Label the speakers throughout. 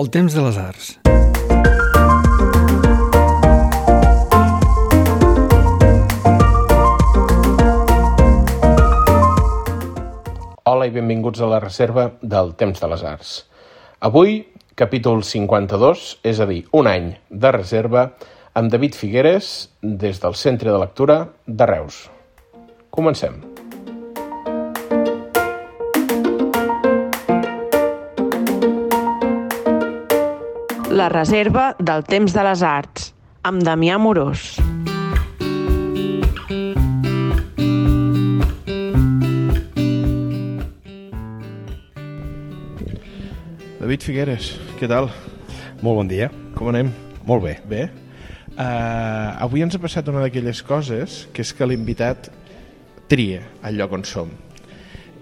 Speaker 1: El temps de les arts.
Speaker 2: Hola i benvinguts a la reserva del Temps de les Arts. Avui, capítol 52, és a dir, un any de reserva, amb David Figueres des del Centre de Lectura de Reus. Comencem.
Speaker 3: La reserva del temps de les arts, amb Damià Morós.
Speaker 4: David Figueres, què tal?
Speaker 5: Molt bon dia.
Speaker 4: Com anem?
Speaker 5: Molt bé.
Speaker 4: Bé? Uh, avui ens ha passat una d'aquelles coses que és que l'invitat tria el lloc on som.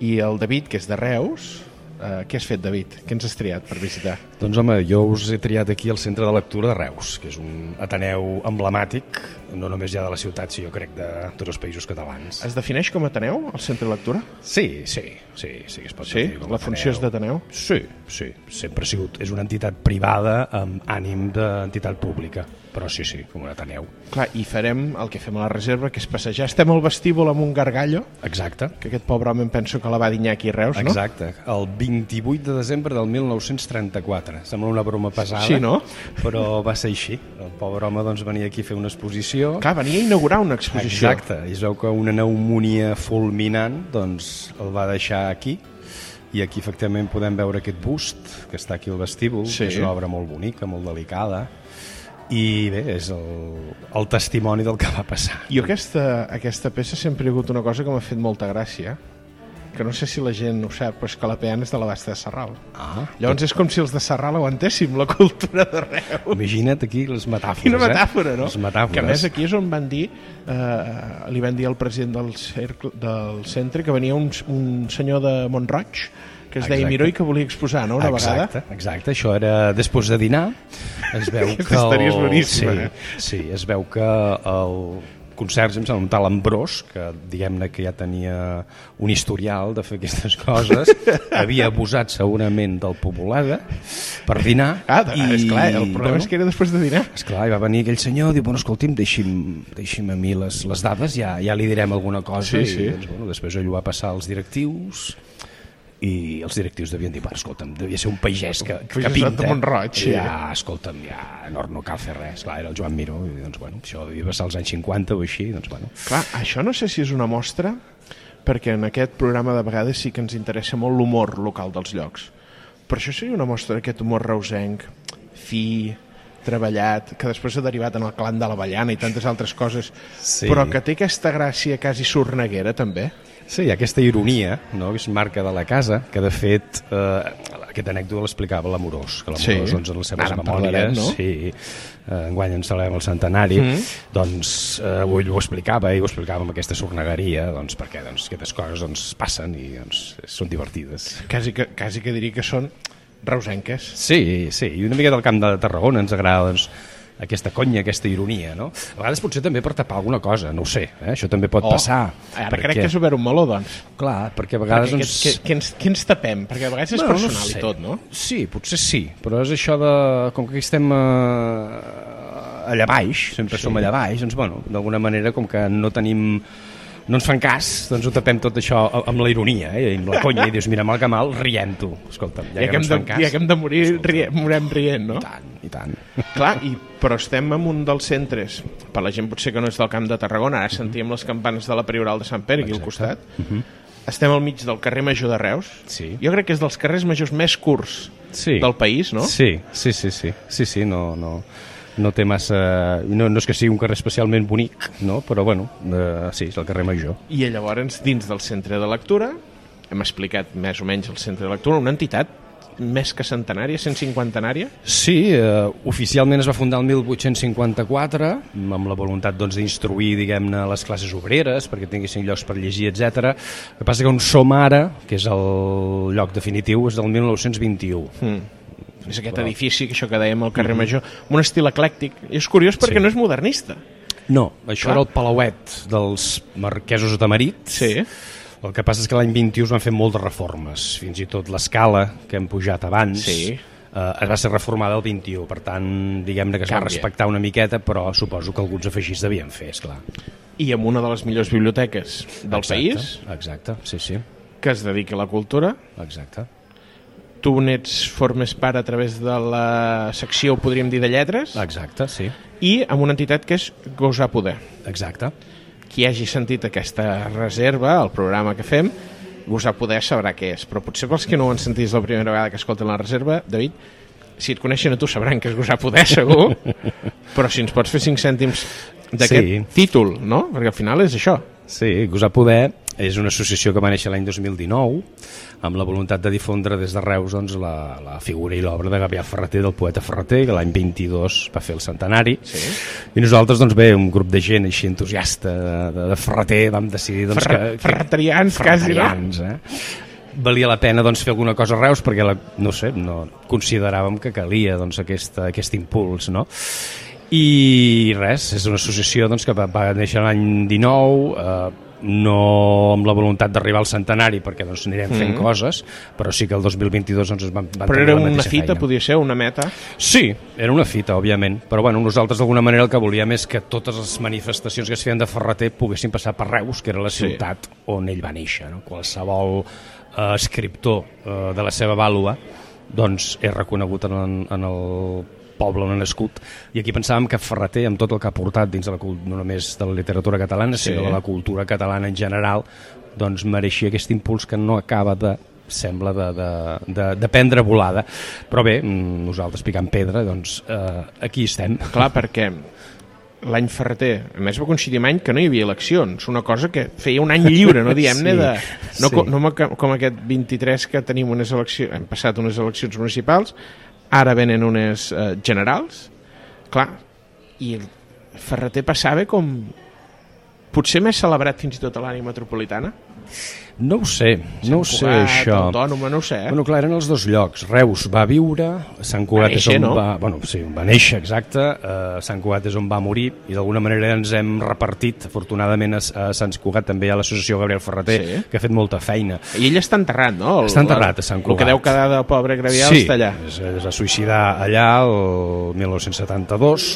Speaker 4: I el David, que és de Reus, uh, què has fet, David? Què ens has triat per visitar?
Speaker 5: Doncs home, jo us he triat aquí al Centre de Lectura de Reus, que és un ateneu emblemàtic, no només ja de la ciutat, sinó jo crec de tots els països catalans.
Speaker 4: Es defineix com a Ateneu, el centre de lectura?
Speaker 5: Sí, sí, sí, sí que es pot
Speaker 4: Sí?
Speaker 5: definir com a
Speaker 4: La funció és d'Ateneu?
Speaker 5: Sí, sí, sempre ha sigut. És una entitat privada amb ànim d'entitat pública, però sí, sí, com un ateneu.
Speaker 4: Clar, i farem el que fem a la reserva, que és passejar. Estem al vestíbul amb un gargallo,
Speaker 5: Exacte.
Speaker 4: que aquest pobre home em penso que la va dinyar aquí a Reus, Doncs no?
Speaker 5: Exacte, el 28 de desembre del 1934. Sembla una broma pesada,
Speaker 4: Sí, no?
Speaker 5: però va ser així. El pobre home doncs, venia aquí a fer una exposició.
Speaker 4: Clar, venia a inaugurar una exposició.
Speaker 5: Exacte, i es veu que una pneumònia fulminant doncs, el va deixar aquí i aquí efectivament podem veure aquest bust que està aquí al vestíbul,
Speaker 4: Sí.
Speaker 5: que és una obra molt bonica, molt delicada i bé, és el, el testimoni del que va passar.
Speaker 4: Jo aquesta, aquesta peça sempre hi ha hagut una cosa que m'ha fet molta gràcia, que no sé si la gent ho sap, però és que la peana és de l'abast de Serral.
Speaker 5: Ah,
Speaker 4: Llavors és com si els de Serral aguantéssim la cultura de Reus.
Speaker 5: imagina't aquí les metàfores.
Speaker 4: Quina Doncs, metàfora, no?
Speaker 5: Eh? Les metàfores.
Speaker 4: Que a més aquí és on van dir, eh, li van dir al president del, cercle, del centre que venia un, un senyor de Montroig que es deia
Speaker 5: Exacte.
Speaker 4: Miró i que volia exposar, no?, una
Speaker 5: exacte,
Speaker 4: vegada.
Speaker 5: Exacte, això era després de dinar. Es veu que
Speaker 4: Aquesta història és boníssima,
Speaker 5: Sí,
Speaker 4: eh?
Speaker 5: sí, es veu que el concerts, em sembla, un tal Ambrós, que diguem-ne que ja tenia un historial de fer aquestes coses, havia abusat segurament del Populaga per dinar.
Speaker 4: Ah, de, I... esclar, el problema és que era després de dinar.
Speaker 5: Esclar, i va venir aquell senyor, diu, bueno, escolti'm, deixi'm, deixi'm a mi les, les dades, ja, ja li direm alguna cosa.
Speaker 4: Sí, sí.
Speaker 5: I, doncs, bueno, després ell ho va passar als directius i els directius devien dir, bueno, escolta'm, devia ser un pagès que, que, que
Speaker 4: Pagesot
Speaker 5: pinta.
Speaker 4: de Mont-roig, sí.
Speaker 5: Ja, escolta'm, ja no, no cal fer res. Clar, era el Joan Miró, i doncs, bueno, això devia passar als anys 50 o així, doncs, bueno.
Speaker 4: Clar, això no sé si és una mostra, perquè en aquest programa de vegades sí que ens interessa molt l'humor local dels llocs. Però això seria una mostra d'aquest humor reusenc, fi, treballat, que després s'ha derivat en el clan de la Ballana i tantes altres coses,
Speaker 5: Sí.
Speaker 4: però que té aquesta gràcia quasi sorneguera, també.
Speaker 5: Sí, hi ha aquesta ironia, no?, que és marca de la casa, que de fet, eh, aquest anècdota l'explicava l'Amorós, que l'Amorós,
Speaker 4: Sí.
Speaker 5: doncs, en les seves
Speaker 4: Ara en
Speaker 5: memòries,
Speaker 4: parlarem, no?
Speaker 5: sí, eh, enguany en celebrem el centenari, doncs eh, ell ho explicava, i ho explicava amb aquesta sornegueria, doncs, perquè doncs, aquestes coses doncs, passen i doncs, són divertides.
Speaker 4: Quasi que, quasi que diria que són reusenques.
Speaker 5: Sí, sí, i una mica del Camp de Tarragona ens agrada, doncs, aquesta conya, aquesta ironia, no? A vegades potser també per tapar alguna cosa, no ho sé, eh? això també pot passar.
Speaker 4: Ara crec que has obert un meló, doncs.
Speaker 5: Clar, perquè
Speaker 4: Perquè
Speaker 5: a vegades...
Speaker 4: doncs...
Speaker 5: doncs...
Speaker 4: Què, què, ens, què ens tapem? Perquè a vegades és
Speaker 5: Bueno,
Speaker 4: personal
Speaker 5: sé.
Speaker 4: i tot, no?
Speaker 5: Sí, potser sí, però és això de... Com que aquí estem eh, allà baix, sempre sí. som allà baix, doncs, bueno, d'alguna manera, com que no tenim no ens fan cas, doncs ho tapem tot això a- amb la ironia, eh? amb la conya, i dius, mira, mal que mal, riem-t'ho. Escolta'm, ja,
Speaker 4: Ja, que,
Speaker 5: no
Speaker 4: hem
Speaker 5: ens
Speaker 4: de,
Speaker 5: fan cas.
Speaker 4: ja que hem de morir, rie, morem rient, no?
Speaker 5: I tant, i tant.
Speaker 4: Clar, i, però estem en un dels centres, per la gent potser que no és del Camp de Tarragona,
Speaker 5: Mhm.
Speaker 4: ara sentíem les campanes de la Prioral de Sant Pere aquí al costat, estem al mig del carrer Major de Reus,
Speaker 5: Sí.
Speaker 4: jo crec que és dels carrers majors més curts
Speaker 5: Sí.
Speaker 4: del país, no?
Speaker 5: Sí, sí, sí, sí, sí, sí no, no, no té massa... No, no és que sigui un carrer especialment bonic, no? però bueno, eh, sí, és el carrer Major.
Speaker 4: I llavors, dins del centre de lectura, hem explicat més o menys el centre de lectura, una entitat més que centenària, 150-nària,
Speaker 5: Sí, eh, oficialment es va fundar el 1854 amb la voluntat d'instruir doncs, diguem-ne les classes obreres perquè tinguessin llocs per llegir, etc. El que passa que on som ara, que és el lloc definitiu, és del 1921.
Speaker 4: Mm. és aquest edifici, que això que dèiem al carrer Major, amb un estil eclèctic. I és curiós perquè
Speaker 5: Mhm. Sí.
Speaker 4: no és modernista.
Speaker 5: No, això
Speaker 4: Clar.
Speaker 5: era el palauet dels marquesos de Marit.
Speaker 4: Sí.
Speaker 5: El que passa és que l'any 21 es van fer moltes reformes, fins i tot l'escala que hem pujat abans.
Speaker 4: Sí.
Speaker 5: eh, es va ser reformada el 21, per tant, diguem-ne que es va
Speaker 4: Canvia.
Speaker 5: respectar una miqueta, però suposo que alguns afegits devien fer, esclar.
Speaker 4: I amb una de les millors biblioteques del
Speaker 5: Exacte,
Speaker 4: país,
Speaker 5: Exacte, sí, sí,
Speaker 4: que es dediqui a la cultura.
Speaker 5: exacte.
Speaker 4: Tu n'ets, formes part a través de la secció, podríem dir, de lletres,
Speaker 5: Exacte, sí,
Speaker 4: i amb una entitat que és Gosar Poder.
Speaker 5: exacte.
Speaker 4: Qui hagi sentit aquesta reserva, el programa que fem, Gosar Poder sabrà què és, però potser pels que no ho han sentit la primera vegada que escolten la reserva, David, si et coneixen a tu sabran que és Gosar Poder, segur, però si ens pots fer 5 cèntims d'aquest
Speaker 5: Sí.
Speaker 4: títol, no? Perquè al final és això.
Speaker 5: Sí, Gosar Poder és una associació que va néixer l'any 2019 amb la voluntat de difondre des de Reus doncs, la, la figura i l'obra de Gabriel Ferreter, del poeta Ferreter, que l'any 22 va fer el centenari. Sí. I nosaltres, doncs bé, un grup de gent així entusiasta de, de, de Ferreter, vam decidir doncs,
Speaker 4: Ferre-
Speaker 5: que, que,
Speaker 4: Ferretarians, quasi, no?
Speaker 5: ferretarians, eh? Valia la pena doncs, fer alguna cosa a Reus perquè, la, no sé, no consideràvem que calia doncs, aquesta, aquest impuls, no? I res, és una associació doncs, que va, va néixer l'any 19, eh, no amb la voluntat d'arribar al centenari perquè doncs, anirem fent mm -hmm. coses, però sí que el 2022 doncs, es van, van
Speaker 4: Però
Speaker 5: tenir
Speaker 4: era
Speaker 5: la
Speaker 4: una
Speaker 5: mateixa
Speaker 4: fita,
Speaker 5: feina.
Speaker 4: podia ser una meta.
Speaker 5: Sí, era una fita, òbviament, però bueno, nosaltres d'alguna manera el que volíem és que totes les manifestacions que es feien de Ferreter poguessin passar per Reus, que era la ciutat sí. on ell va néixer. No? Qualsevol eh, escriptor eh, de la seva vàlua doncs, és reconegut en, en, en el poble on ha nascut i aquí pensàvem que Ferreter amb tot el que ha portat dins de la, cul- no només de la literatura catalana sí. sinó de la cultura catalana en general doncs mereixia aquest impuls que no acaba de sembla de, de, de, de prendre volada però bé, mm, nosaltres picant pedra doncs eh, aquí estem
Speaker 4: Clar, perquè l'any Ferreter, a més va coincidir amb any que no hi havia eleccions, una cosa que feia un any lliure, no diem-ne,
Speaker 5: Sí,
Speaker 4: de... no,
Speaker 5: sí.
Speaker 4: co- no ma- com aquest 23 que tenim unes eleccions, hem passat unes eleccions municipals, ara venen unes eh, generals, clar, i el Ferreter passava com potser més celebrat fins i tot a l'àrea metropolitana.
Speaker 5: no ho sé, no ho sé
Speaker 4: Cugat,
Speaker 5: això
Speaker 4: Autònoma, no ho sé. Eh?
Speaker 5: Bueno, clar, eren els dos llocs. Reus va viure, Sant Cugat
Speaker 4: Va
Speaker 5: és on
Speaker 4: néixer, no?
Speaker 5: va... Bueno, sí, on va néixer, exacte. Uh, Sant Cugat és on va morir i d'alguna manera ens hem repartit. Afortunadament a, a Sant Cugat també hi ha l'associació Gabriel Ferreter,
Speaker 4: Sí.
Speaker 5: sí. que ha fet molta feina.
Speaker 4: I ell està enterrat, no? El,
Speaker 5: Està enterrat a Sant
Speaker 4: El
Speaker 5: Cugat.
Speaker 4: que deu quedar de pobre Gravial està allà.
Speaker 5: Es, es va suïcidar allà el 1972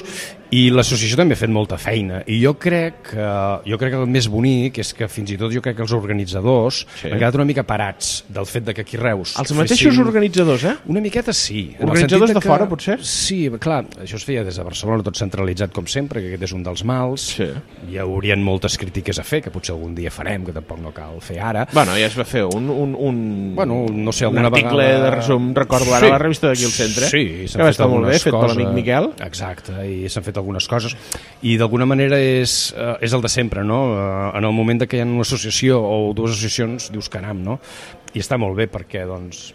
Speaker 5: i l'associació també ha fet molta feina i jo crec que, jo crec que el més bonic és que fins i tot jo crec que els organitzadors
Speaker 4: Sí.
Speaker 5: sí. han quedat una mica parats del fet de que aquí a Reus
Speaker 4: Els mateixos
Speaker 5: fessin-
Speaker 4: organitzadors, eh?
Speaker 5: Una miqueta sí. en el
Speaker 4: Organitzadors
Speaker 5: sentit
Speaker 4: de fora, potser?
Speaker 5: Sí, clar, això es feia des de Barcelona, tot centralitzat com sempre, que aquest és un dels mals.
Speaker 4: Sí.
Speaker 5: Hi haurien moltes crítiques a fer, que potser algun dia farem, que tampoc no cal fer ara.
Speaker 4: Bueno, ja es va fer un... un, un
Speaker 5: Bueno, no sé,
Speaker 4: un
Speaker 5: alguna
Speaker 4: article
Speaker 5: vegada...
Speaker 4: de resum, recordo ara, a la revista d'aquí al centre,
Speaker 5: Sí, s'han
Speaker 4: que va
Speaker 5: fet
Speaker 4: estar molt bé,
Speaker 5: algunes
Speaker 4: fet per l'amic Miquel.
Speaker 5: Exacte, i s'han fet algunes coses. I d'alguna manera és, eh, és el de sempre, no? Eh, En el moment de que hi ha una associació o dues associacions, dius caram, no? I està molt bé perquè doncs,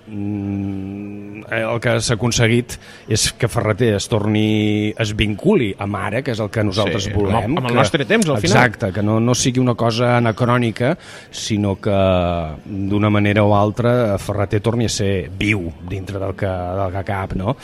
Speaker 5: mm, eh, el que s'ha aconseguit és que Ferreter es torni, es vinculi a Mare, que és el que nosaltres
Speaker 4: Sí, amb el-
Speaker 5: volem.
Speaker 4: amb el
Speaker 5: que-
Speaker 4: nostre temps, al final.
Speaker 5: Exacte, exacte, que no, no sigui una cosa anacrònica, sinó que d'una manera o altra Ferreter torni a ser viu dintre del que, del que cap, no?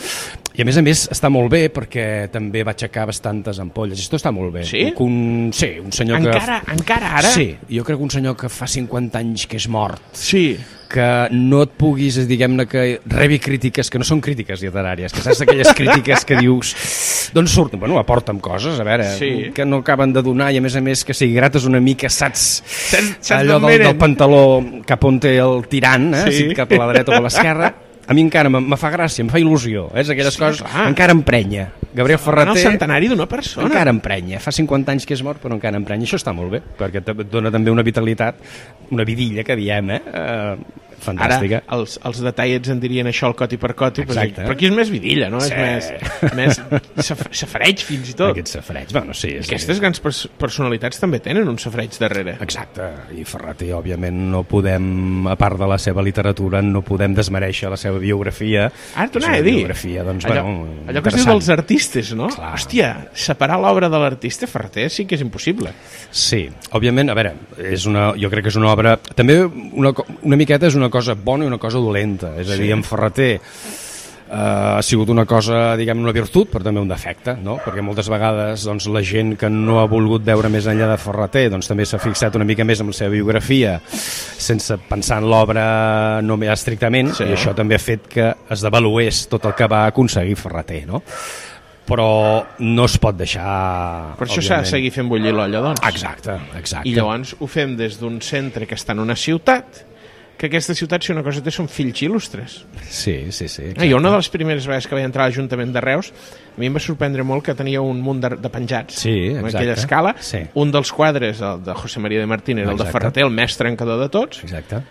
Speaker 5: I a més a més està molt bé perquè també va aixecar bastantes ampolles. Això està molt bé.
Speaker 4: Sí?
Speaker 5: Un, sí, un senyor
Speaker 4: Encara,
Speaker 5: que...
Speaker 4: encara ara?
Speaker 5: Sí, jo crec que un senyor que fa 50 anys que és mort
Speaker 4: Sí.
Speaker 5: que no et puguis, diguem-ne, que rebi crítiques que no són crítiques literàries, que saps aquelles crítiques que dius d'on surten? Bueno, aporta'm coses, a veure,
Speaker 4: Sí.
Speaker 5: que no acaben de donar i a més a més que si grates una mica saps,
Speaker 4: saps
Speaker 5: allò
Speaker 4: d'on
Speaker 5: del, del
Speaker 4: venen.
Speaker 5: pantaló cap on té el tirant, eh?
Speaker 4: Sí.
Speaker 5: Sí. si cap a la dreta o a l'esquerra, a mi encara me, me fa gràcia, em fa il·lusió, eh? és aquelles
Speaker 4: Sí,
Speaker 5: sí, coses,
Speaker 4: clar.
Speaker 5: clar. encara emprenya. Gabriel
Speaker 4: En el
Speaker 5: Ferreter...
Speaker 4: centenari d'una persona.
Speaker 5: Encara emprenya, fa 50 anys que és mort però encara emprenya, això està molt bé perquè te- et dona també una vitalitat una vidilla que diem, eh? eh
Speaker 4: Ara,
Speaker 5: fantàstica
Speaker 4: els, els detallets en dirien això el coti per coti, però,
Speaker 5: Exacte.
Speaker 4: però aquí és més vidilla, no?
Speaker 5: Sí.
Speaker 4: És més, més saf- safareig, fins i tot.
Speaker 5: aquests safareig, bueno, sí és,
Speaker 4: Aquestes grans pers personalitats també tenen un safareig darrere.
Speaker 5: Exacte, i Ferrati, òbviament, no podem, a part de la seva literatura, no podem desmereixer la seva biografia.
Speaker 4: Ara t'ho
Speaker 5: És
Speaker 4: anava
Speaker 5: una
Speaker 4: a dir.
Speaker 5: Biografia, doncs,
Speaker 4: allò,
Speaker 5: bueno,
Speaker 4: allò que es diu
Speaker 5: interessant.
Speaker 4: dels artistes, no?
Speaker 5: Clar.
Speaker 4: Hòstia, separar l'obra de l'artista Ferreter sí que és impossible.
Speaker 5: Sí, òbviament, a veure, és una, jo crec que és una obra... També una, co- una miqueta és una cosa bona i una cosa dolenta. És a dir, en Ferreter eh, eh, ha sigut una cosa, diguem una virtut, però també un defecte, no? perquè moltes vegades doncs, la gent que no ha volgut veure més enllà de Ferreter doncs, també s'ha fixat una mica més en la seva biografia sense pensar en l'obra només estrictament, sí. i això també ha fet que es devalués tot el que va aconseguir Ferreter, no? però no es pot deixar...
Speaker 4: Per això s'ha de
Speaker 5: òbviament.
Speaker 4: seguir fent bullir l'olla, doncs.
Speaker 5: Exacte, exacte.
Speaker 4: I llavors ho fem des d'un centre que està en una ciutat, que aquesta ciutat, si una cosa té, són fills il·lustres.
Speaker 5: Sí, sí, sí.
Speaker 4: Ah, jo una de les primeres vegades que vaig entrar a l'Ajuntament de Reus, a mi em va sorprendre molt que tenia un munt de, de penjats
Speaker 5: Sí,
Speaker 4: en
Speaker 5: exacte.
Speaker 4: aquella escala.
Speaker 5: Sí.
Speaker 4: Un dels quadres, el de José María de Martín, era el de
Speaker 5: Exacte.
Speaker 4: Ferreter, el més trencador de tots.
Speaker 5: Exacte.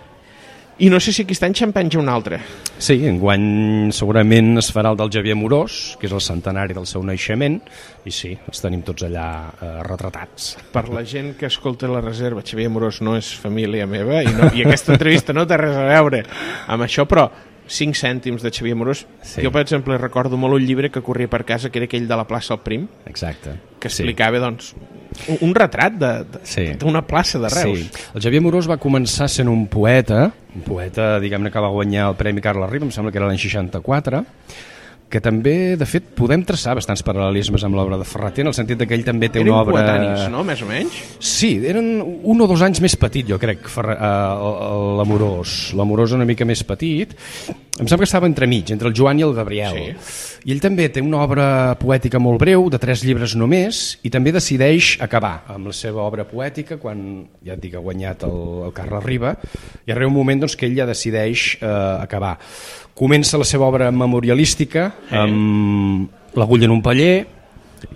Speaker 4: I no sé si aquest any se'n penja un altre.
Speaker 5: Sí, enguany segurament es farà el del Javier Morós, que és el centenari del seu naixement, i sí, els tenim tots allà eh, retratats.
Speaker 4: Per la gent que escolta la reserva, Xavier Amorós no és família meva i, no, i aquesta entrevista no té res a veure amb això, però 5 cèntims de Xavier Amorós.
Speaker 5: Sí.
Speaker 4: Sí. Jo, per exemple, recordo molt un llibre que corria per casa, que era aquell de la plaça El Prim,
Speaker 5: Exacte.
Speaker 4: que explicava, doncs, un, un retrat de- de-
Speaker 5: Sí.
Speaker 4: d'una plaça de Reus.
Speaker 5: Sí. El Javier Morós va començar sent un poeta, un poeta, diguem-ne, que va guanyar el Premi Carles Riba, em sembla que era l'any 64, que també, de fet, podem traçar bastants paral·lelismes amb l'obra de Ferreter, en el sentit que ell també té
Speaker 4: Eren
Speaker 5: una obra...
Speaker 4: coetanis, no?, més o menys.
Speaker 5: Sí, eren un o dos anys més petit, jo crec, Ferra- eh, l'Amorós. L'Amorós una mica més petit. Em sembla que estava entremig, entre el Joan i el Gabriel. Sí. I ell també té una obra poètica molt breu, de tres llibres només, i també decideix acabar amb la seva obra poètica quan, ja et dic, ha guanyat el, el Carles Riba, i arriba un moment doncs, que ell ja decideix eh, acabar. Comença la seva obra memorialística amb l'agulla en un paller,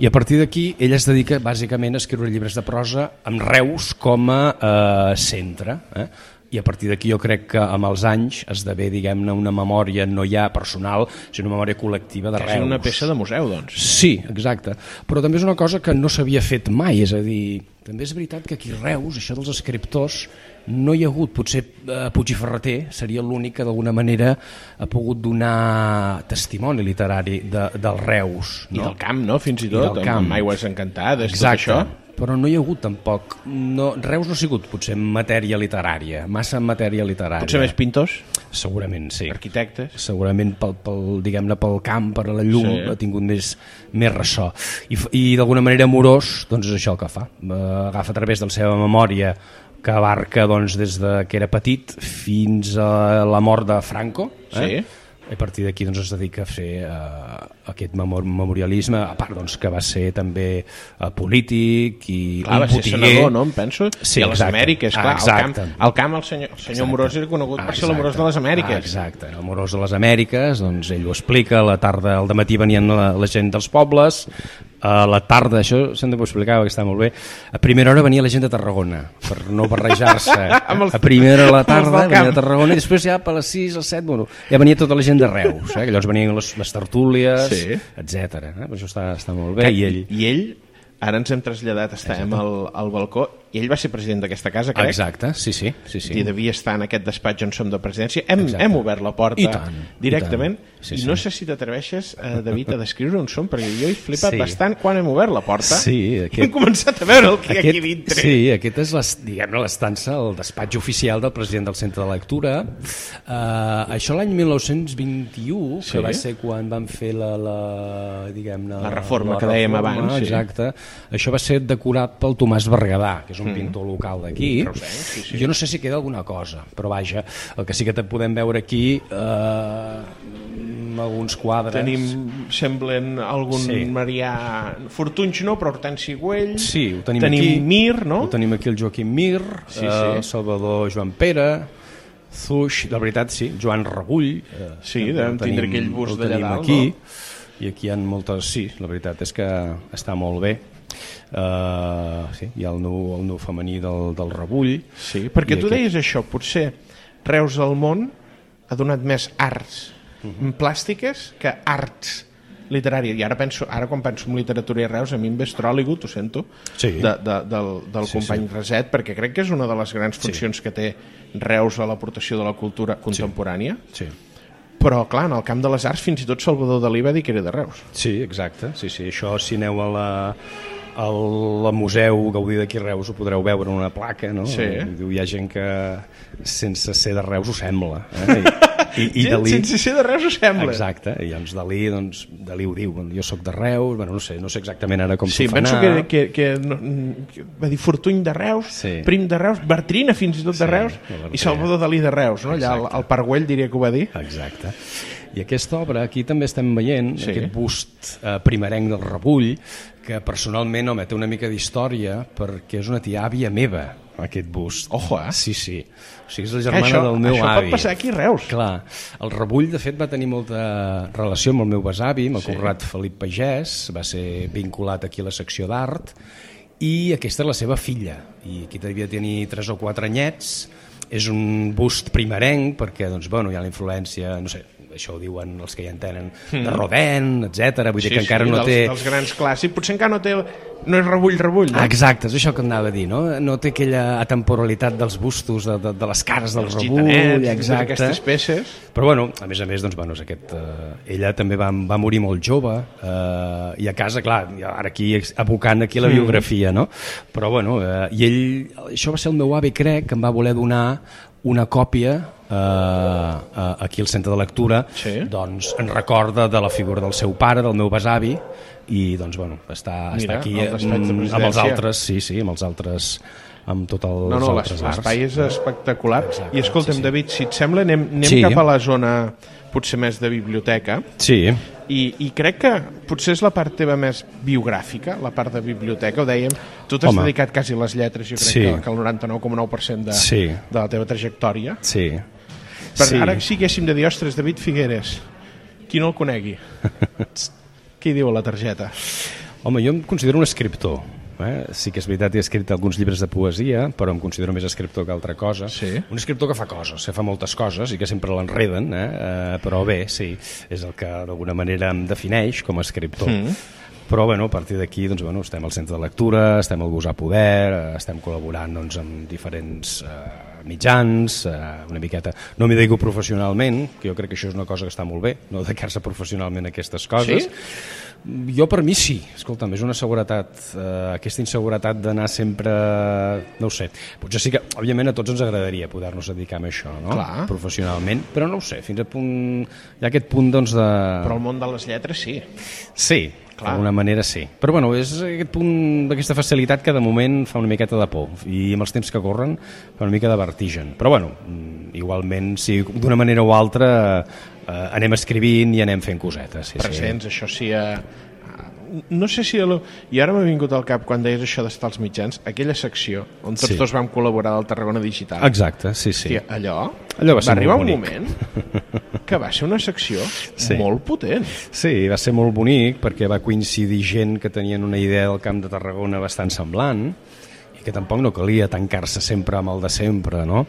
Speaker 5: i a partir d'aquí ell es dedica bàsicament a escriure llibres de prosa amb Reus com a eh, centre. Eh? I a partir d'aquí jo crec que amb els anys esdevé, diguem-ne, una memòria no ja personal, sinó una memòria col·lectiva de
Speaker 4: És
Speaker 5: Reus.
Speaker 4: una peça de museu, doncs.
Speaker 5: Sí, exacte. Però també és una cosa que no s'havia fet mai, és a dir, també és veritat que aquí a Reus, això dels escriptors, no hi ha hagut, potser eh, Puig i Ferreter seria l'únic que d'alguna manera ha pogut donar testimoni literari de, del Reus.
Speaker 4: I
Speaker 5: No?
Speaker 4: del camp, no?, fins i
Speaker 5: del
Speaker 4: tot, amb-
Speaker 5: camp.
Speaker 4: amb Aigües Encantades,
Speaker 5: Exacte.
Speaker 4: tot això.
Speaker 5: Però no hi ha hagut tampoc... No, Reus no ha sigut potser en matèria literària, massa en matèria literària.
Speaker 4: Potser més pintors,
Speaker 5: Segurament, sí.
Speaker 4: arquitectes.
Speaker 5: Segurament pel, pel, diguem-ne pel camp, per la llum,
Speaker 4: Sí.
Speaker 5: sí. ha tingut més, més ressò. I, f- i d'alguna manera amorós, doncs és això el que fa. Eh, agafa a través de la seva memòria que abarca doncs, des de que era petit fins a la mort de Franco, eh?
Speaker 4: Sí.
Speaker 5: I a partir d'aquí doncs, es dedica a fer eh, aquest memor memorialisme, a part doncs, que va ser també eh, polític i
Speaker 4: Clar,
Speaker 5: un
Speaker 4: va ser
Speaker 5: botiguer.
Speaker 4: senador, no?, em penso.
Speaker 5: Sí,
Speaker 4: I a les
Speaker 5: exacte.
Speaker 4: Amèriques,
Speaker 5: Ah,
Speaker 4: clar, al
Speaker 5: exacte.
Speaker 4: camp, al camp el senyor, el senyor Amorós era conegut per ser l'Amorós de les
Speaker 5: Ah,
Speaker 4: Amèriques.
Speaker 5: exacte, el Morós de les Amèriques, doncs ell ho explica, a la tarda, al matí venien la, la gent dels pobles, a la tarda, això sempre ho explicava, que està molt bé, a primera hora venia la gent de Tarragona, per no barrejar-se.
Speaker 4: Amb els-
Speaker 5: a primera hora
Speaker 4: amb
Speaker 5: a la
Speaker 4: els del
Speaker 5: tarda venia
Speaker 4: camp.
Speaker 5: de Tarragona i després ja per les 6, les 7, bueno, ja venia tota la gent de Reus, eh? que llavors venien les, les tertúlies,
Speaker 4: Sí.
Speaker 5: sí. etc. Eh? Però això està, està molt bé, i ell...
Speaker 4: I ell, ara ens hem traslladat, estàvem al, al balcó, i ell va ser president d'aquesta casa, crec.
Speaker 5: Exacte, sí, sí. sí, sí.
Speaker 4: i devia estar en aquest despatx on som de presidència, hem,
Speaker 5: Exacte.
Speaker 4: hem obert la porta
Speaker 5: I tant,
Speaker 4: directament
Speaker 5: i
Speaker 4: i,
Speaker 5: tant. Sí,
Speaker 4: no
Speaker 5: sí.
Speaker 4: sé si t'atreveixes, eh, David, a descriure on som, perquè jo he flipat
Speaker 5: Sí.
Speaker 4: sí. bastant quan hem obert la porta
Speaker 5: Sí,
Speaker 4: i
Speaker 5: aquest-
Speaker 4: hem començat a veure el que hi ha aquí dintre.
Speaker 5: Sí, aquest és les- diguem-ne l'estança, el despatx oficial del president del centre de lectura. Uh, això l'any 1921, sí.
Speaker 4: Sí.
Speaker 5: que va ser quan van fer la, la diguem-ne...
Speaker 4: La reforma que dèiem
Speaker 5: reforma,
Speaker 4: abans, sí.
Speaker 5: Exacte. Això va ser decorat pel Tomàs Berguedà, que és un mm. pintor local d'aquí.
Speaker 4: Mm, eh?
Speaker 5: Sí, sí. Jo no sé si queda alguna cosa, però vaja, el que sí que te podem veure aquí... Uh, alguns quadres
Speaker 4: Tenim, semblen, algun
Speaker 5: Sí.
Speaker 4: sí. marià... Fortunys no, però Hortensi Güell.
Speaker 5: Sí, ho tenim,
Speaker 4: tenim
Speaker 5: aquí.
Speaker 4: Mir, no?
Speaker 5: Ho tenim aquí el Joaquim Mir,
Speaker 4: Sí,
Speaker 5: sí, sí.
Speaker 4: sí.
Speaker 5: Eh, Salvador Joan Pere, Zuix, la veritat sí, Joan Rebull. Eh,
Speaker 4: Sí,
Speaker 5: també
Speaker 4: devem
Speaker 5: el
Speaker 4: tindre aquell bust
Speaker 5: el
Speaker 4: d'allà
Speaker 5: tenim
Speaker 4: dalt,
Speaker 5: aquí, no? I aquí hi ha moltes... Sí, la veritat és que està molt bé. Uh, sí, hi ha el nou, el nou femení del, del Rebull.
Speaker 4: Sí, perquè
Speaker 5: I
Speaker 4: tu
Speaker 5: aquest-
Speaker 4: deies això, potser Reus del món ha donat més arts
Speaker 5: Mhm.
Speaker 4: plàstiques que arts literàries. I ara, penso, ara quan penso en literatura i Reus, a mi em ve Stròligut, ho sento,
Speaker 5: Sí.
Speaker 4: de, de, del, del sí, company sí. Reset, perquè crec que és una de les grans funcions sí. que té Reus a l'aportació de la cultura contemporània.
Speaker 5: Sí.
Speaker 4: Però, clar, en el camp de les arts, fins i tot Salvador Dalí va dir que era de Reus.
Speaker 5: Sí, exacte. Sí, sí. Això, si aneu a la, al Museu Gaudí d'aquí a Reus ho podreu veure en una placa, no?
Speaker 4: Sí.
Speaker 5: I Diu, hi ha gent que sense ser de Reus ho sembla. Eh? I, i, i
Speaker 4: Gent
Speaker 5: Dalí...
Speaker 4: sense ser de res ho sembla.
Speaker 5: Exacte, i doncs Dalí, doncs, Dalí ho diu, jo sóc de Reus, bueno, no sé, no sé exactament ara com
Speaker 4: Sí,
Speaker 5: s'ho fa
Speaker 4: penso
Speaker 5: anar.
Speaker 4: que, que, que, no, que va dir Fortuny de Reus,
Speaker 5: Sí.
Speaker 4: sí. Prim de Reus, Bertrina fins i tot de
Speaker 5: Sí,
Speaker 4: Reus
Speaker 5: la Bertrina.
Speaker 4: i Salvador Dalí de Reus, no? Allà al,
Speaker 5: Exacte.
Speaker 4: al Parguell diria que ho va dir.
Speaker 5: Exacte. I aquesta obra, aquí també estem veient sí.
Speaker 4: Sí.
Speaker 5: aquest bust eh, primerenc del Rebull, que personalment, home, té una mica d'història perquè és una tia àvia meva, aquest bust.
Speaker 4: Ojo, eh?
Speaker 5: Sí, sí. O sigui, és la
Speaker 4: Que
Speaker 5: germana
Speaker 4: això-
Speaker 5: del meu
Speaker 4: això pot
Speaker 5: avi.
Speaker 4: passar aquí a Reus.
Speaker 5: Clar. El Rebull, de fet, va tenir molta relació amb el meu besavi, amb el sí. Conrad Felip Pagès, va ser vinculat aquí a la secció d'art, i aquesta és la seva filla, i aquí devia tenir 3 o 4 anyets, és un bust primerenc, perquè doncs, bueno, hi ha la influència, no sé, això ho diuen els que ja entenen, de Rodin, etc. Vull dir que encara no
Speaker 4: Mm. dels,
Speaker 5: té...
Speaker 4: dels grans clàssics, potser encara no té no és rebull, rebull.
Speaker 5: Ah,
Speaker 4: No?
Speaker 5: Exacte, és això que anava a dir, no? No té aquella atemporalitat dels bustos, de, de, de les cares del
Speaker 4: Els
Speaker 5: rebull,
Speaker 4: gitanets, totes
Speaker 5: exacte.
Speaker 4: aquestes peces.
Speaker 5: Però bueno, a més a més, doncs, bueno, és aquest, eh, ella també va, va morir molt jove eh, i a casa, clar, ja ara aquí ex- abocant aquí
Speaker 4: Mm.
Speaker 5: la biografia, no? Però bueno, eh, i ell, això va ser el meu avi, crec, que em va voler donar una còpia eh, a- aquí al centre de lectura
Speaker 4: Sí.
Speaker 5: doncs en recorda de la figura del seu pare, del meu besavi i doncs bueno, està,
Speaker 4: Mira,
Speaker 5: està aquí mm,
Speaker 4: el despatx de
Speaker 5: amb, amb els
Speaker 4: presidència.
Speaker 5: altres sí, sí, amb els altres amb tot els
Speaker 4: No, no, l'es-
Speaker 5: altres arts
Speaker 4: l'espai és espectacular.
Speaker 5: Exacte,
Speaker 4: I escolta'm,
Speaker 5: sí, sí.
Speaker 4: David, si et sembla, anem, anem
Speaker 5: Sí.
Speaker 4: cap a la zona potser més de biblioteca.
Speaker 5: sí,
Speaker 4: I, I crec que potser és la part teva més biogràfica, la part de biblioteca, ho dèiem. Tu t'has
Speaker 5: Home.
Speaker 4: dedicat quasi a les lletres, jo crec
Speaker 5: Sí.
Speaker 4: que, que el 99,9% de,
Speaker 5: Sí.
Speaker 4: de la teva trajectòria.
Speaker 5: sí
Speaker 4: Però sí. ara si haguéssim de dir, ostres, David Figueres, qui no el conegui? Qui diu a la targeta?
Speaker 5: Home, jo em considero un escriptor. Eh? Sí que és veritat, he escrit alguns llibres de poesia, però em considero més escriptor que altra cosa.
Speaker 4: Sí.
Speaker 5: Un escriptor que fa coses, que fa moltes coses i que sempre l'enreden, eh? eh? però bé, sí, és el que d'alguna manera em defineix com a escriptor. Mm. Però bueno, a partir d'aquí doncs, bueno, estem al centre de lectura, estem al Gosar Poder, eh, estem col·laborant doncs, amb diferents eh, mitjans, eh, una miqueta... No m'hi dedico professionalment, que jo crec que això és una cosa que està molt bé, no dedicar-se professionalment a aquestes coses. Jo per mi sí, escolta'm, és una seguretat, eh, aquesta inseguretat d'anar sempre, no ho sé, potser sí que, òbviament, a tots ens agradaria poder-nos dedicar a això, no?
Speaker 4: Clar.
Speaker 5: Professionalment, però no ho sé, fins a punt, hi ha aquest punt, doncs, de...
Speaker 4: Però el món de les lletres, sí.
Speaker 5: Sí,
Speaker 4: Clar.
Speaker 5: d'alguna manera sí. Però bueno, és aquest punt d'aquesta facilitat que de moment fa una miqueta de por i amb els temps que corren fa una mica de vertigen. Però bueno, mm, igualment, si d'una manera o altra eh, anem escrivint i anem fent cosetes. Sí,
Speaker 4: presents, això sí, a, a, no sé si... A lo... I ara m'ha vingut al cap, quan deies això d'estar als mitjans, aquella secció on tots
Speaker 5: Sí.
Speaker 4: sí. dos vam col·laborar del Tarragona
Speaker 5: Sí.
Speaker 4: Digital.
Speaker 5: Exacte, sí, sí.
Speaker 4: Hòstia, allò,
Speaker 5: Allò va ser molt
Speaker 4: arribar un
Speaker 5: bonic.
Speaker 4: moment que va ser una secció
Speaker 5: Sí.
Speaker 4: sí. molt potent.
Speaker 5: Sí, va ser molt bonic perquè va coincidir gent que tenien una idea del Camp de Tarragona bastant semblant i que tampoc no calia tancar-se sempre amb el de sempre, no?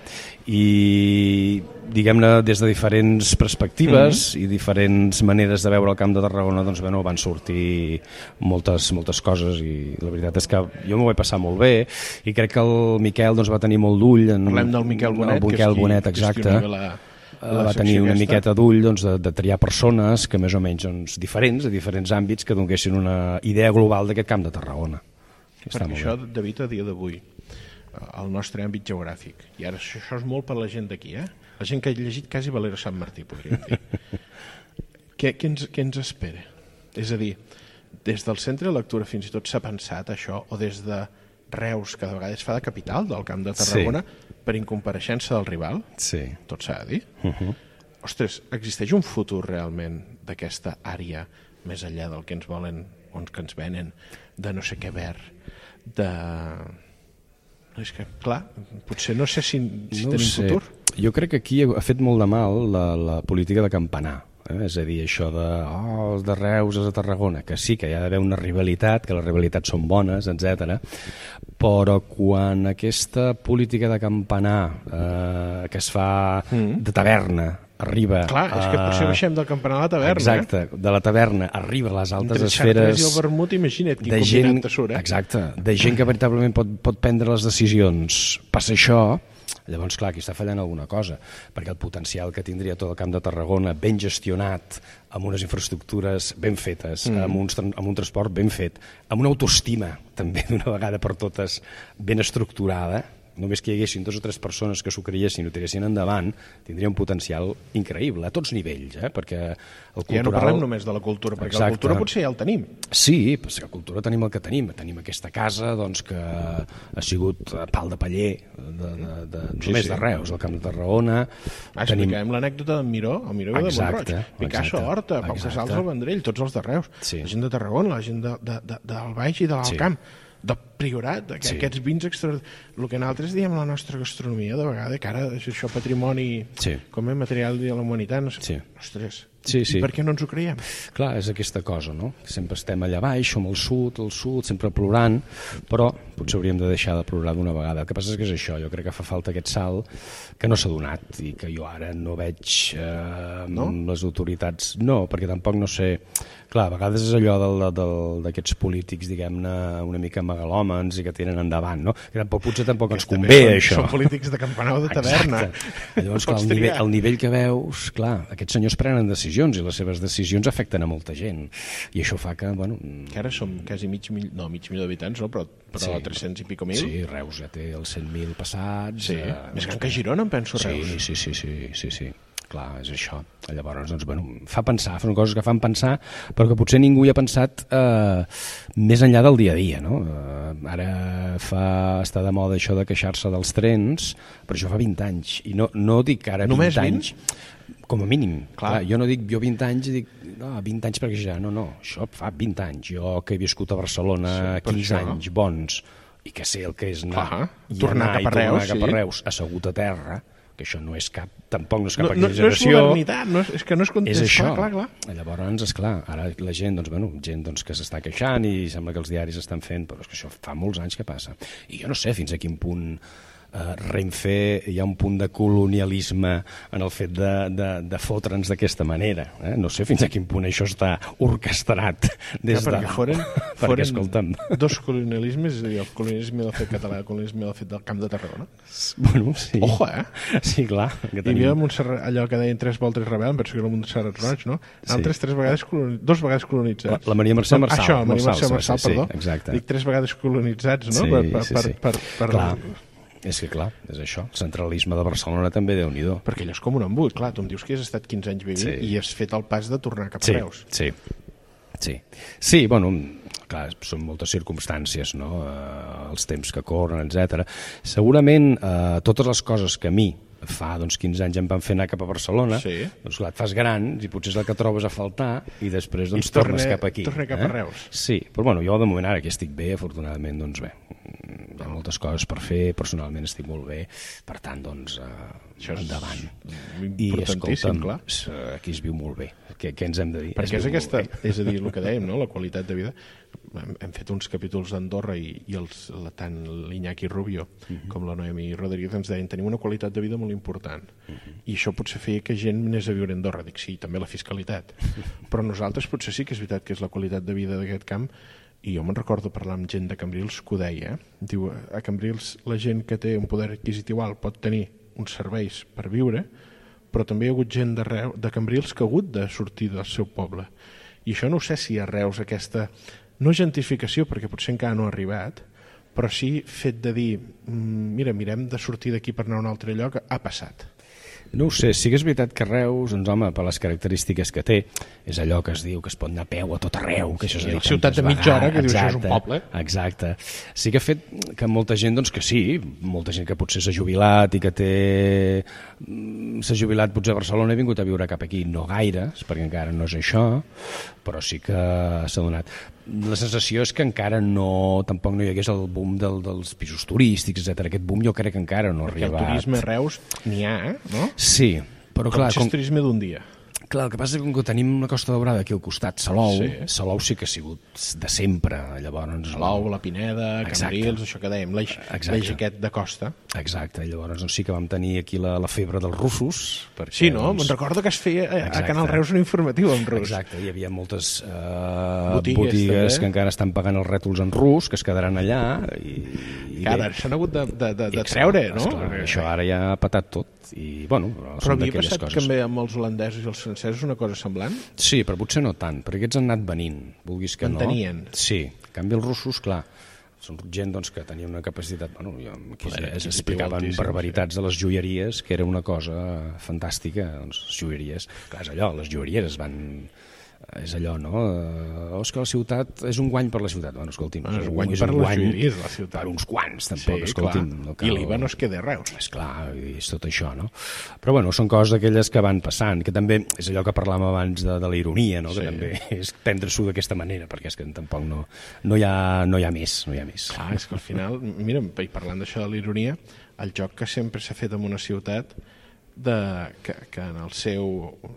Speaker 5: I, diguem-ne, des de diferents perspectives
Speaker 4: Mhm.
Speaker 5: mm -hmm. i diferents maneres de veure el Camp de Tarragona, doncs, bueno, van sortir moltes, moltes coses i la veritat és que jo m'ho vaig passar molt bé i crec que el Miquel doncs, va tenir molt d'ull en...
Speaker 4: Parlem del Miquel Bonet,
Speaker 5: el Miquel Bonet, exacte
Speaker 4: gestionava Eh, La,
Speaker 5: la va tenir
Speaker 4: secció
Speaker 5: una
Speaker 4: aquesta.
Speaker 5: miqueta d'ull doncs, de, de triar persones que més o menys doncs, diferents, de diferents àmbits, que donguessin una idea global d'aquest camp de Tarragona. Està
Speaker 4: Perquè
Speaker 5: molt
Speaker 4: això,
Speaker 5: bé.
Speaker 4: David, a dia d'avui, eh, el nostre àmbit geogràfic, i ara això, això és molt per la gent d'aquí, eh? la gent que ha llegit quasi Valera Sant Martí, podríem dir. què, què, ens, què ens espera? És a dir, des del centre de lectura fins i tot s'ha pensat això, o des de Reus, que de vegades fa de capital del camp de Tarragona, sí. per incompareixença del rival,
Speaker 5: Sí.
Speaker 4: tot s'ha de dir. Uh -huh.
Speaker 5: Mhm.
Speaker 4: Ostres, existeix un futur realment d'aquesta àrea més enllà del que ens volen o que ens venen, de no sé què verd, de... No, és que, clar, potser no sé si, si no
Speaker 5: ho
Speaker 4: tenim
Speaker 5: sé.
Speaker 4: futur.
Speaker 5: Jo crec que aquí ha fet molt de mal la, la política de campanar. Eh? És a dir, això de oh, els de Reus, els de Tarragona, que sí, que hi ha d'haver una rivalitat, que les rivalitats són bones, etc. Però quan aquesta política de campanar eh, que es fa mm. de taverna arriba...
Speaker 4: Clar, és que potser baixem del campanar a la taverna.
Speaker 5: Ah. Exacte, de la taverna arriba a les
Speaker 4: Eh?
Speaker 5: altes
Speaker 4: Entre xartres
Speaker 5: esferes
Speaker 4: i el vermut, imagina't quin
Speaker 5: de gent,
Speaker 4: combinat te surt, eh?
Speaker 5: exacte, de gent que veritablement pot, pot prendre les decisions. Passa això Llavors, clar, aquí està fallant alguna cosa, perquè el potencial que tindria tot el camp de Tarragona ben gestionat, amb unes infraestructures ben fetes, mm. amb, un, amb un transport ben fet, amb una autoestima també d'una vegada per totes ben estructurada, només que hi haguessin dues o tres persones que s'ho creiessin i ho tiressin endavant, tindria un potencial increïble, a tots nivells, eh? perquè el cultural...
Speaker 4: Ja no parlem només de la cultura, perquè Exacte. la cultura potser ja el tenim.
Speaker 5: Sí, però és que a cultura tenim el que tenim. Tenim aquesta casa doncs, que ha sigut eh, pal de paller de, de, de, sí,
Speaker 4: Sí,
Speaker 5: només
Speaker 4: sí.
Speaker 5: de Reus, del Camp de Tarragona.
Speaker 4: Ah, expliquem tenim... l'anècdota d'en Miró, el Miró de
Speaker 5: Exacte,
Speaker 4: Montroig, Picasso,
Speaker 5: exacte,
Speaker 4: Horta, Pau
Speaker 5: exacte.
Speaker 4: Casals, el Vendrell, tots els de Reus,
Speaker 5: Sí.
Speaker 4: la gent de Tarragona, la gent de, de, de, del Baix i de l'Alt
Speaker 5: Sí.
Speaker 4: Camp, de Priorat, aqu
Speaker 5: Sí.
Speaker 4: aquests vins extra... El que nosaltres diem la nostra gastronomia, de vegades, que ara és això patrimoni
Speaker 5: Sí.
Speaker 4: com a material de la humanitat, no sé,
Speaker 5: Sí.
Speaker 4: ostres,
Speaker 5: Sí, sí.
Speaker 4: i per què no ens ho creiem?
Speaker 5: Clar, és aquesta cosa, no? Sempre estem allà baix, som al sud, al sud, sempre plorant, però potser hauríem de deixar de plorar d'una vegada. El que passa és que és això, jo crec que fa falta aquest salt que no s'ha donat i que jo ara no veig eh, no? les autoritats. No, perquè tampoc no sé... Clar, a vegades és allò del- del- d'aquests polítics, diguem-ne, una mica megalòmans i que tiren endavant, no? Que tampoc, potser tampoc ens convé,
Speaker 4: També
Speaker 5: això.
Speaker 4: són, són polítics de campanau de taverna.
Speaker 5: Exacte. Llavors,
Speaker 4: No
Speaker 5: clar,
Speaker 4: pots
Speaker 5: el, nivell,
Speaker 4: triar.
Speaker 5: el nivell que veus, clar, aquests senyors prenen decisions i les seves decisions afecten a molta gent. I això fa que, bueno, mm,
Speaker 4: Que ara som quasi mig milió, no, mig milió d'habitants, no? però, però
Speaker 5: Sí.
Speaker 4: sí. 300 i pico mil.
Speaker 5: sí, Reus ja té els 100.000 passats.
Speaker 4: Sí.
Speaker 5: eh,
Speaker 4: Més gran que Girona, em penso, Reus.
Speaker 5: Sí, sí, sí, sí, sí, sí. Clar, és això. Llavors, doncs, bueno, fa pensar, són coses que fan pensar, però que potser ningú hi ha pensat eh, més enllà del dia a dia, no? Eh, ara fa, està de moda això de queixar-se dels trens, però això fa 20 anys, i no, no dic ara
Speaker 4: Només 20?
Speaker 5: 20 anys, com a mínim. Clar.
Speaker 4: Clar.
Speaker 5: Clar, jo no dic jo 20 anys, dic no, 20 anys perquè ja, no, no, això fa 20 anys. Jo que he viscut a Barcelona
Speaker 4: Sí, per
Speaker 5: 15
Speaker 4: això.
Speaker 5: anys bons i que sé el que és anar,
Speaker 4: Clar.
Speaker 5: i
Speaker 4: Tornar cap
Speaker 5: anar
Speaker 4: a
Speaker 5: i tornar
Speaker 4: Reus,
Speaker 5: cap
Speaker 4: sí.
Speaker 5: a Reus, assegut a terra, que això no és cap, tampoc no és cap
Speaker 4: no, no, no és
Speaker 5: exageració.
Speaker 4: modernitat, no és, és que no és
Speaker 5: és
Speaker 4: context.
Speaker 5: això.
Speaker 4: Clar, clar, clar.
Speaker 5: Llavors, esclar, ara la gent, doncs, bueno, gent doncs, que s'està queixant i sembla que els diaris estan fent, però és que això fa molts anys que passa. I jo no sé fins a quin punt eh, Renfe hi ha un punt de colonialisme en el fet de, de, de fotre'ns d'aquesta manera. Eh? No sé fins a quin punt això està orquestrat
Speaker 4: Clar,
Speaker 5: des de...
Speaker 4: perquè
Speaker 5: dalt.
Speaker 4: foren,
Speaker 5: perquè,
Speaker 4: foren
Speaker 5: escolta'm,
Speaker 4: dos colonialismes, és a dir, el colonialisme del fet català i el colonialisme del fet del camp de Tarragona.
Speaker 5: bueno, sí.
Speaker 4: Ojo, eh?
Speaker 5: Sí, clar. Que
Speaker 4: I hi havia
Speaker 5: tenim...
Speaker 4: Montserrat, allò que deien tres voltes rebel, em penso que era Montserrat Roig, no? Altres tres vegades, coloni... dos vegades colonitzats.
Speaker 5: La- la Maria Mercè
Speaker 4: No,
Speaker 5: Marçal.
Speaker 4: Això, la Maria Mercè
Speaker 5: Marçal,
Speaker 4: Marçal,
Speaker 5: sí, sí,
Speaker 4: perdó.
Speaker 5: exacte.
Speaker 4: Dic tres vegades colonitzats, no?
Speaker 5: Sí,
Speaker 4: per, per,
Speaker 5: sí,
Speaker 4: per,
Speaker 5: sí.
Speaker 4: per, per,
Speaker 5: Clar, és que clar, és això. El centralisme de Barcelona també, déu nhi
Speaker 4: Perquè allò és com un embut, clar, tu em dius que has estat 15 anys vivint
Speaker 5: Sí.
Speaker 4: i has fet el pas de tornar cap a
Speaker 5: Sí,
Speaker 4: Reus.
Speaker 5: sí. Sí, sí bueno, clar, són moltes circumstàncies, no? Eh, els temps que corren, etc. Segurament eh, totes les coses que a mi fa doncs, 15 anys em van fer anar cap a Barcelona,
Speaker 4: Sí.
Speaker 5: doncs clar, et fas gran i potser és el que trobes a faltar i després doncs,
Speaker 4: I torna-
Speaker 5: tornes cap aquí. eh?
Speaker 4: torna cap a Reus.
Speaker 5: Sí, però bueno, jo de moment ara que estic bé, afortunadament, doncs bé, hi ha moltes coses per fer, personalment estic molt bé, per tant, doncs, eh,
Speaker 4: Això és
Speaker 5: endavant.
Speaker 4: importantíssim, clar.
Speaker 5: s- eh, aquí es viu molt bé. Què, què ens hem de dir? Es
Speaker 4: Perquè és
Speaker 5: viu molt
Speaker 4: aquesta,
Speaker 5: bé.
Speaker 4: és a dir, el que dèiem, no? la qualitat de vida. Hem, hem fet uns capítols d'Andorra i, i els, la, tant l'Iñaki Rubio com la Noemi Rodríguez ens deien tenim una qualitat de vida molt important i això potser feia que gent anés a viure a Andorra. Dic, sí, també la fiscalitat. Però nosaltres potser sí que és veritat que és la qualitat de vida d'aquest camp i jo me'n recordo parlar amb gent de Cambrils que ho deia. eh? Diu, a Cambrils la gent que té un poder adquisitiu alt pot tenir uns serveis per viure, però també hi ha hagut gent de, Reu, de Cambrils que ha hagut de sortir del seu poble. I això no ho sé si a Reus aquesta, no gentificació, perquè potser encara no ha arribat, però sí fet de dir, "Mm, mira, mirem de sortir d'aquí per anar a un altre lloc, ha passat.
Speaker 5: No ho sé, sí que és veritat que Reus, doncs home, per les característiques que té, és allò que es diu que es pot anar a peu a tot arreu, que això
Speaker 4: Sí,
Speaker 5: s'ha dit
Speaker 4: ciutat de
Speaker 5: tantes
Speaker 4: mitja hora, que
Speaker 5: vegades,
Speaker 4: dius, això és un
Speaker 5: exacte,
Speaker 4: poble.
Speaker 5: Exacte. Sí que ha fet que molta gent, doncs que sí, molta gent que potser s'ha jubilat i que té... mm, s'ha jubilat potser a Barcelona i ha vingut a viure cap aquí, no gaires, perquè encara no és això, però sí que s'ha donat. La sensació és que encara no, tampoc no hi hagués el boom del, dels pisos turístics, etc. Aquest boom jo crec que encara no ha
Speaker 4: Perquè el
Speaker 5: arribat.
Speaker 4: turisme a Reus n'hi ha, eh, no?
Speaker 5: Sí, però clar,
Speaker 4: Potser és turisme d'un dia.
Speaker 5: Clar, el que passa és que com que tenim la Costa Daurada aquí al costat, Salou, sí. Salou sí que ha sigut de sempre, llavors...
Speaker 4: L'ou, la Pineda,
Speaker 5: Exacte.
Speaker 4: Cambrils, això que dèiem, l'eix
Speaker 5: Exacte.
Speaker 4: l'eix aquest de costa.
Speaker 5: Exacte, llavors doncs, sí que vam tenir aquí la, la febre dels russos. Perquè,
Speaker 4: Sí, no? Me'n recordo que es feia eh, a, a
Speaker 5: Exacte.
Speaker 4: Canal Reus un informatiu en rus.
Speaker 5: Exacte, hi havia moltes eh,
Speaker 4: Botigues,
Speaker 5: botigues,
Speaker 4: també.
Speaker 5: botigues que encara estan pagant els rètols en rus, que es quedaran allà. I, i
Speaker 4: Que ara
Speaker 5: bé.
Speaker 4: s'han hagut de, de, de, de
Speaker 5: Exacte,
Speaker 4: treure, no?
Speaker 5: Esclar, això ara ja ha patat tot. I, bueno, però,
Speaker 4: Però
Speaker 5: són
Speaker 4: havia
Speaker 5: d'aquelles
Speaker 4: passat
Speaker 5: coses.
Speaker 4: també amb els holandesos i els francesos una cosa semblant?
Speaker 5: Sí, però potser no tant, perquè aquests han anat venint, vulguis que
Speaker 4: Mantenien.
Speaker 5: no. Sí, en canvi els russos, clar, són gent doncs, que tenia una capacitat... Bueno, jo, aquí Poder, es explicaven barbaritats de les joieries, que era una cosa fantàstica, doncs, les joieries... Clar, és allò, les joieries es van és allò, no? Eh, oh, és que la ciutat és un guany per la ciutat. Bueno, escolti'm,
Speaker 4: Bueno, és un
Speaker 5: un-
Speaker 4: guany per les joieries, la ciutat.
Speaker 5: Per uns quants, tampoc,
Speaker 4: Sí, clar.
Speaker 5: escolti'm. No
Speaker 4: I l'IVA no es queda a Reus.
Speaker 5: és clar, és tot això, no? Però bueno, són coses d'aquelles que van passant, que també és allò que parlàvem abans de, de la ironia, no? Sí. Que també és prendre-s'ho d'aquesta manera, perquè és que tampoc no, no, hi ha, no hi ha més, no hi ha més.
Speaker 4: Clar, és que al final, mira, i parlant d'això de la ironia, el joc que sempre s'ha fet en una ciutat de, que, que en el seu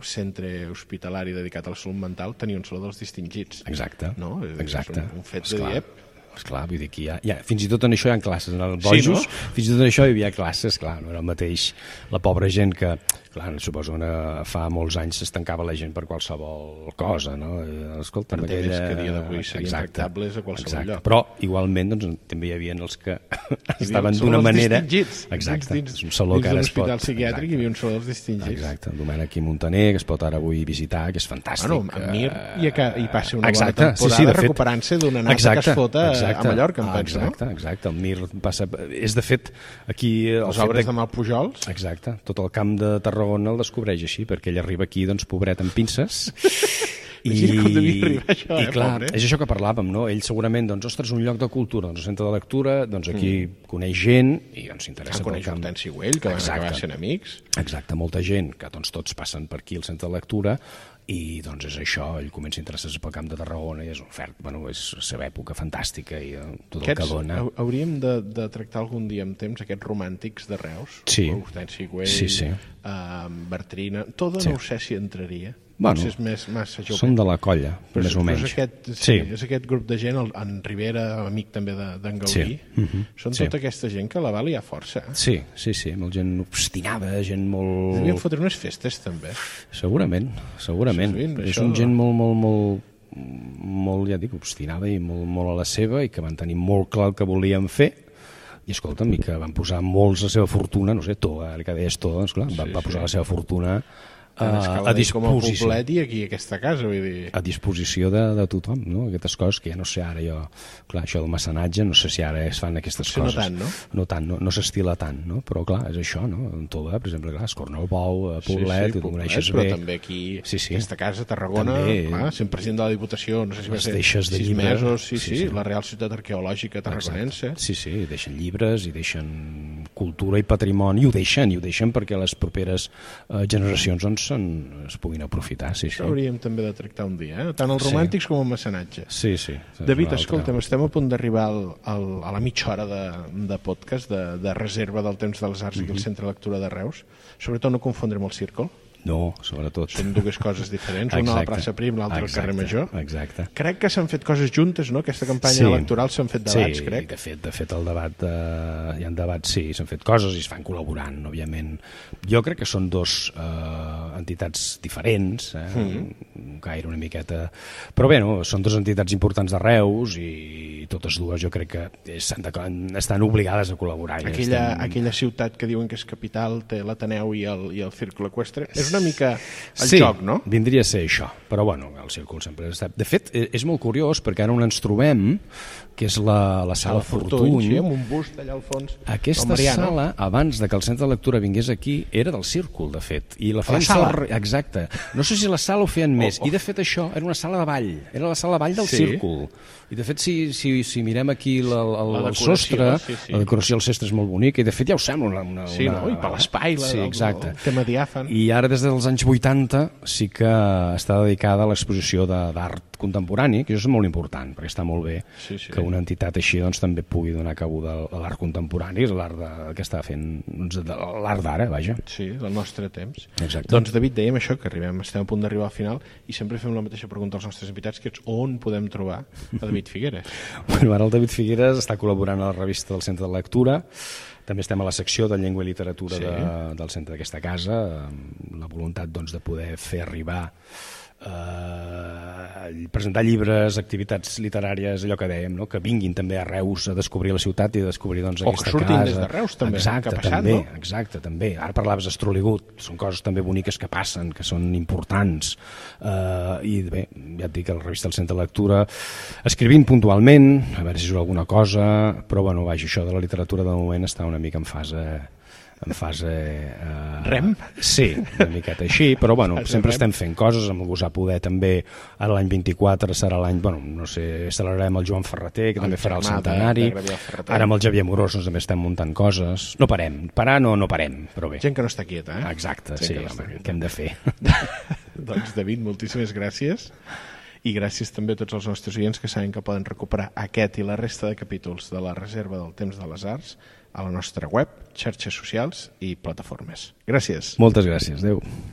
Speaker 4: centre hospitalari dedicat a la salut mental tenia un saló dels distingits.
Speaker 5: Exacte.
Speaker 4: No? És a dir,
Speaker 5: Exacte.
Speaker 4: és un- un fet de
Speaker 5: esclar.
Speaker 4: dir, ep.
Speaker 5: Esclar, vull dir, aquí hi ha, hi ha, fins i tot en això hi ha classes, en el Bojos, sí, no? fins i tot en això hi havia classes, clar, no era el mateix. La pobra gent que, clar, suposo que eh, fa molts anys s'estancava la gent per qualsevol cosa, no? Eh, Escolta,
Speaker 4: Per temes que a dia d'avui serien tractables a qualsevol
Speaker 5: exacte.
Speaker 4: lloc.
Speaker 5: Però, igualment, doncs, també hi havia els que estaven
Speaker 4: Hi havia un saló
Speaker 5: d'una
Speaker 4: dels
Speaker 5: manera...
Speaker 4: distingits.
Speaker 5: Exacte,
Speaker 4: Dins,
Speaker 5: és un saló que ara es pot...
Speaker 4: Dins de l'hospital psiquiàtric
Speaker 5: Exacte.
Speaker 4: hi havia un saló dels distingits.
Speaker 5: Exacte, el Domènec i Montaner, que es pot ara avui visitar, que és fantàstic. eh,
Speaker 4: Bueno, a Mir hi, ha, ca- hi passa una
Speaker 5: exacte,
Speaker 4: bona temporada
Speaker 5: sí, sí, de fet.
Speaker 4: recuperant-se d'una nata
Speaker 5: exacte,
Speaker 4: que es fota a-
Speaker 5: exacte,
Speaker 4: a Mallorca, em
Speaker 5: ah,
Speaker 4: penso,
Speaker 5: exacte, no? Exacte, el Mir passa... És, de fet, aquí... eh, el
Speaker 4: no? Les
Speaker 5: fet
Speaker 4: obres
Speaker 5: de-
Speaker 4: de Malpujols.
Speaker 5: Exacte, tot el camp de Tarragona el descobreix així, perquè ell arriba aquí, doncs, pobret, amb pinces...
Speaker 4: Imagina com devia arribar això,
Speaker 5: i
Speaker 4: eh,
Speaker 5: clar,
Speaker 4: pobre.
Speaker 5: és això que parlàvem, no? Ell segurament, doncs, ostres, un lloc de cultura, doncs, un centre de lectura, doncs aquí mm. coneix gent i doncs s'interessa
Speaker 4: Que
Speaker 5: pel
Speaker 4: coneix
Speaker 5: camp.
Speaker 4: Hortensi Güell, que van
Speaker 5: Exacte.
Speaker 4: acabar sent amics.
Speaker 5: Exacte, molta gent, que doncs tots passen per aquí al centre de lectura i doncs és això, ell comença a interessar-se pel camp de Tarragona i és un fert, bueno, és la seva època fantàstica i eh, tot el que
Speaker 4: Aquests,
Speaker 5: dona.
Speaker 4: hau- hauríem de, de tractar algun dia amb temps aquests romàntics de Reus.
Speaker 5: Sí.
Speaker 4: Hortensi Güell,
Speaker 5: Sí, sí.
Speaker 4: eh, Bertrina... Toda
Speaker 5: Sí.
Speaker 4: no ho sé si entraria.
Speaker 5: Bueno,
Speaker 4: Potser és més, massa jove.
Speaker 5: Són de la colla,
Speaker 4: Però
Speaker 5: més
Speaker 4: és-
Speaker 5: o
Speaker 4: però
Speaker 5: menys.
Speaker 4: És aquest, sí,
Speaker 5: sí.
Speaker 4: és aquest grup de gent, el, en Rivera, amic també de- d'en de, Gaudí,
Speaker 5: Sí. Mhm.
Speaker 4: són
Speaker 5: Sí.
Speaker 4: tota aquesta gent que la va liar força. eh?
Speaker 5: Sí, sí, sí, molt gent obstinada, gent
Speaker 4: Ens Devien
Speaker 5: molt...
Speaker 4: fotre unes festes, també.
Speaker 5: Segurament, segurament.
Speaker 4: Sí, sí,
Speaker 5: és
Speaker 4: això-
Speaker 5: un gent molt, molt, molt molt, ja dic, obstinada i molt, molt a la seva i que van tenir molt clar el que volien fer i escolta'm, i que van posar molts la seva fortuna, no sé, Toga, el que deies Toga, doncs clar, va, va posar la seva fortuna a,
Speaker 4: Tant
Speaker 5: a
Speaker 4: Escaladei com el
Speaker 5: disposició
Speaker 4: poblet i aquí, a aquesta casa, vull dir...
Speaker 5: a disposició de, de tothom, no? Aquestes coses que ja no sé ara jo... Clar, això del mecenatge, no sé si ara es fan aquestes
Speaker 4: Potser no
Speaker 5: coses.
Speaker 4: tant, no?
Speaker 5: No tant, no, no s'estila tant, no? Però clar, és això, no? En Tova, per exemple, clar, es corna el bou, a Poblet, i tu
Speaker 4: Poblet,
Speaker 5: coneixes
Speaker 4: però
Speaker 5: bé.
Speaker 4: també aquí,
Speaker 5: Sí, sí.
Speaker 4: aquesta casa, Tarragona,
Speaker 5: També. eh?
Speaker 4: clar, sent president de la Diputació, no sé si va
Speaker 5: Les
Speaker 4: ser
Speaker 5: deixes de
Speaker 4: sis
Speaker 5: llibre.
Speaker 4: mesos, sí, sí,
Speaker 5: Sí,
Speaker 4: sí,
Speaker 5: sí.
Speaker 4: la Real Ciutat Arqueològica Tarragonense.
Speaker 5: Sí, sí, i deixen llibres i deixen cultura i patrimoni, i ho deixen, i ho deixen perquè les properes eh, generacions doncs, se'n, es puguin aprofitar, sí,
Speaker 4: Això
Speaker 5: sí.
Speaker 4: hauríem també de tractar un dia, eh? tant els romàntics com el mecenatge.
Speaker 5: Sí, sí.
Speaker 4: David,
Speaker 5: Una altra.
Speaker 4: escolta'm, estem a punt d'arribar al, al, a la mitja hora de, de podcast de, de reserva del temps de les arts
Speaker 5: Mhm.
Speaker 4: aquí al Centre de Lectura de Reus. Sobretot no confondre amb el Círcol.
Speaker 5: No, sobretot.
Speaker 4: Són dues coses diferents, una a la
Speaker 5: Exacte.
Speaker 4: plaça Prim, l'altra al carrer
Speaker 5: Exacte,
Speaker 4: Major.
Speaker 5: Exacte.
Speaker 4: Crec que s'han fet coses juntes, no? Aquesta campanya electoral s'han fet debats,
Speaker 5: sí,
Speaker 4: crec.
Speaker 5: de fet, de fet el debat, eh, hi ha debats, sí, s'han fet coses i es fan col·laborant, òbviament. Jo crec que són dos eh, entitats diferents, eh, mm.
Speaker 4: Mhm.
Speaker 5: gaire una miqueta... Però bé, no, són dues entitats importants de Reus i totes dues jo crec que estan, de, estan obligades a col·laborar. i
Speaker 4: aquella,
Speaker 5: estem-
Speaker 4: aquella ciutat que diuen que és capital té l'Ateneu i el, i el Círcul Equestre. És una mica el
Speaker 5: sí,
Speaker 4: joc, no?
Speaker 5: vindria a ser això, però bueno, el círcul sempre està... De fet, eh, és molt curiós perquè ara on ens trobem, que és la, la sala Fortuny,
Speaker 4: sí, amb un bust allà al fons.
Speaker 5: Aquesta
Speaker 4: del Mariano.
Speaker 5: sala, abans de que el centre de lectura vingués aquí, era del círcul, de fet. I la, feien
Speaker 4: sala? Oh,
Speaker 5: fer- Exacte. No sé si la sala ho feien més. I, de fet, això era una sala de ball. Era la sala de ball del
Speaker 4: Sí.
Speaker 5: sí. círcul. I, de fet, si, si, si mirem aquí la, la,
Speaker 4: La
Speaker 5: la el
Speaker 4: decoració,
Speaker 5: sostre,
Speaker 4: sí, sí.
Speaker 5: la decoració del sostre és molt bonica. I, de fet, ja ho sembla una... una
Speaker 4: Sí,
Speaker 5: una,
Speaker 4: no? I per l'espai, la-
Speaker 5: Sí,
Speaker 4: el-
Speaker 5: exacte.
Speaker 4: el tema diàfan.
Speaker 5: I ara, des des dels anys 80 sí que està dedicada a l'exposició de- d'art contemporani, que això és molt important, perquè està molt bé
Speaker 4: Sí, sí.
Speaker 5: que una entitat així doncs, també pugui donar cabuda a l'art contemporani, a l'art de- que està fent doncs, de- de l'art d'ara, vaja.
Speaker 4: Sí, del nostre temps.
Speaker 5: Exacte.
Speaker 4: Doncs, David, dèiem això, que arribem, estem a punt d'arribar al final i sempre fem la mateixa pregunta als nostres invitats, que és on podem trobar a David Figueres.
Speaker 5: Bueno, ara el David Figueres està col·laborant a la revista del Centre de Lectura. També estem a la secció de Llengua i Literatura
Speaker 4: Sí.
Speaker 5: sí. de, del centre d'aquesta casa, amb la voluntat doncs, de poder fer arribar eh, presentar llibres, activitats literàries, allò que dèiem, no? que vinguin també a Reus a descobrir la ciutat i a descobrir doncs,
Speaker 4: O que
Speaker 5: aquesta
Speaker 4: surtin
Speaker 5: casa.
Speaker 4: des de Reus, també,
Speaker 5: Exacte,
Speaker 4: que ha passat,
Speaker 5: també,
Speaker 4: no?
Speaker 5: exacte, també. Ara parlaves d'Astroligut, són coses també boniques que passen, que són importants. Uh, I bé, ja et dic, a la revista del Centre de Lectura, escrivint puntualment, a veure si surt alguna cosa, però bueno, vaja, això de la literatura de moment està una mica en fase en fase... Eh,
Speaker 4: Rem?
Speaker 5: Sí, una miqueta així, però bueno,
Speaker 4: Fase
Speaker 5: sempre
Speaker 4: rem.
Speaker 5: estem fent coses, amb el gosar poder també, ara l'any 24 serà l'any, bueno, no sé, celebrarem el Joan Ferreter, que
Speaker 4: El
Speaker 5: també farà el
Speaker 4: germà de-
Speaker 5: centenari,
Speaker 4: de Gabriel Ferrater.
Speaker 5: ara amb el Xavier Morós doncs, també estem muntant coses, no parem, parar no, no parem, però bé.
Speaker 4: Gent que no està quieta, eh?
Speaker 5: Exacte,
Speaker 4: Gent
Speaker 5: sí,
Speaker 4: que no està
Speaker 5: home,
Speaker 4: quieta.
Speaker 5: què hem de fer?
Speaker 4: doncs, David, moltíssimes gràcies. I gràcies també a tots els nostres oients que saben que poden recuperar aquest i la resta de capítols de la Reserva del Temps de les Arts a la nostra web, xarxes socials i plataformes. Gràcies.
Speaker 5: Moltes gràcies, adeu.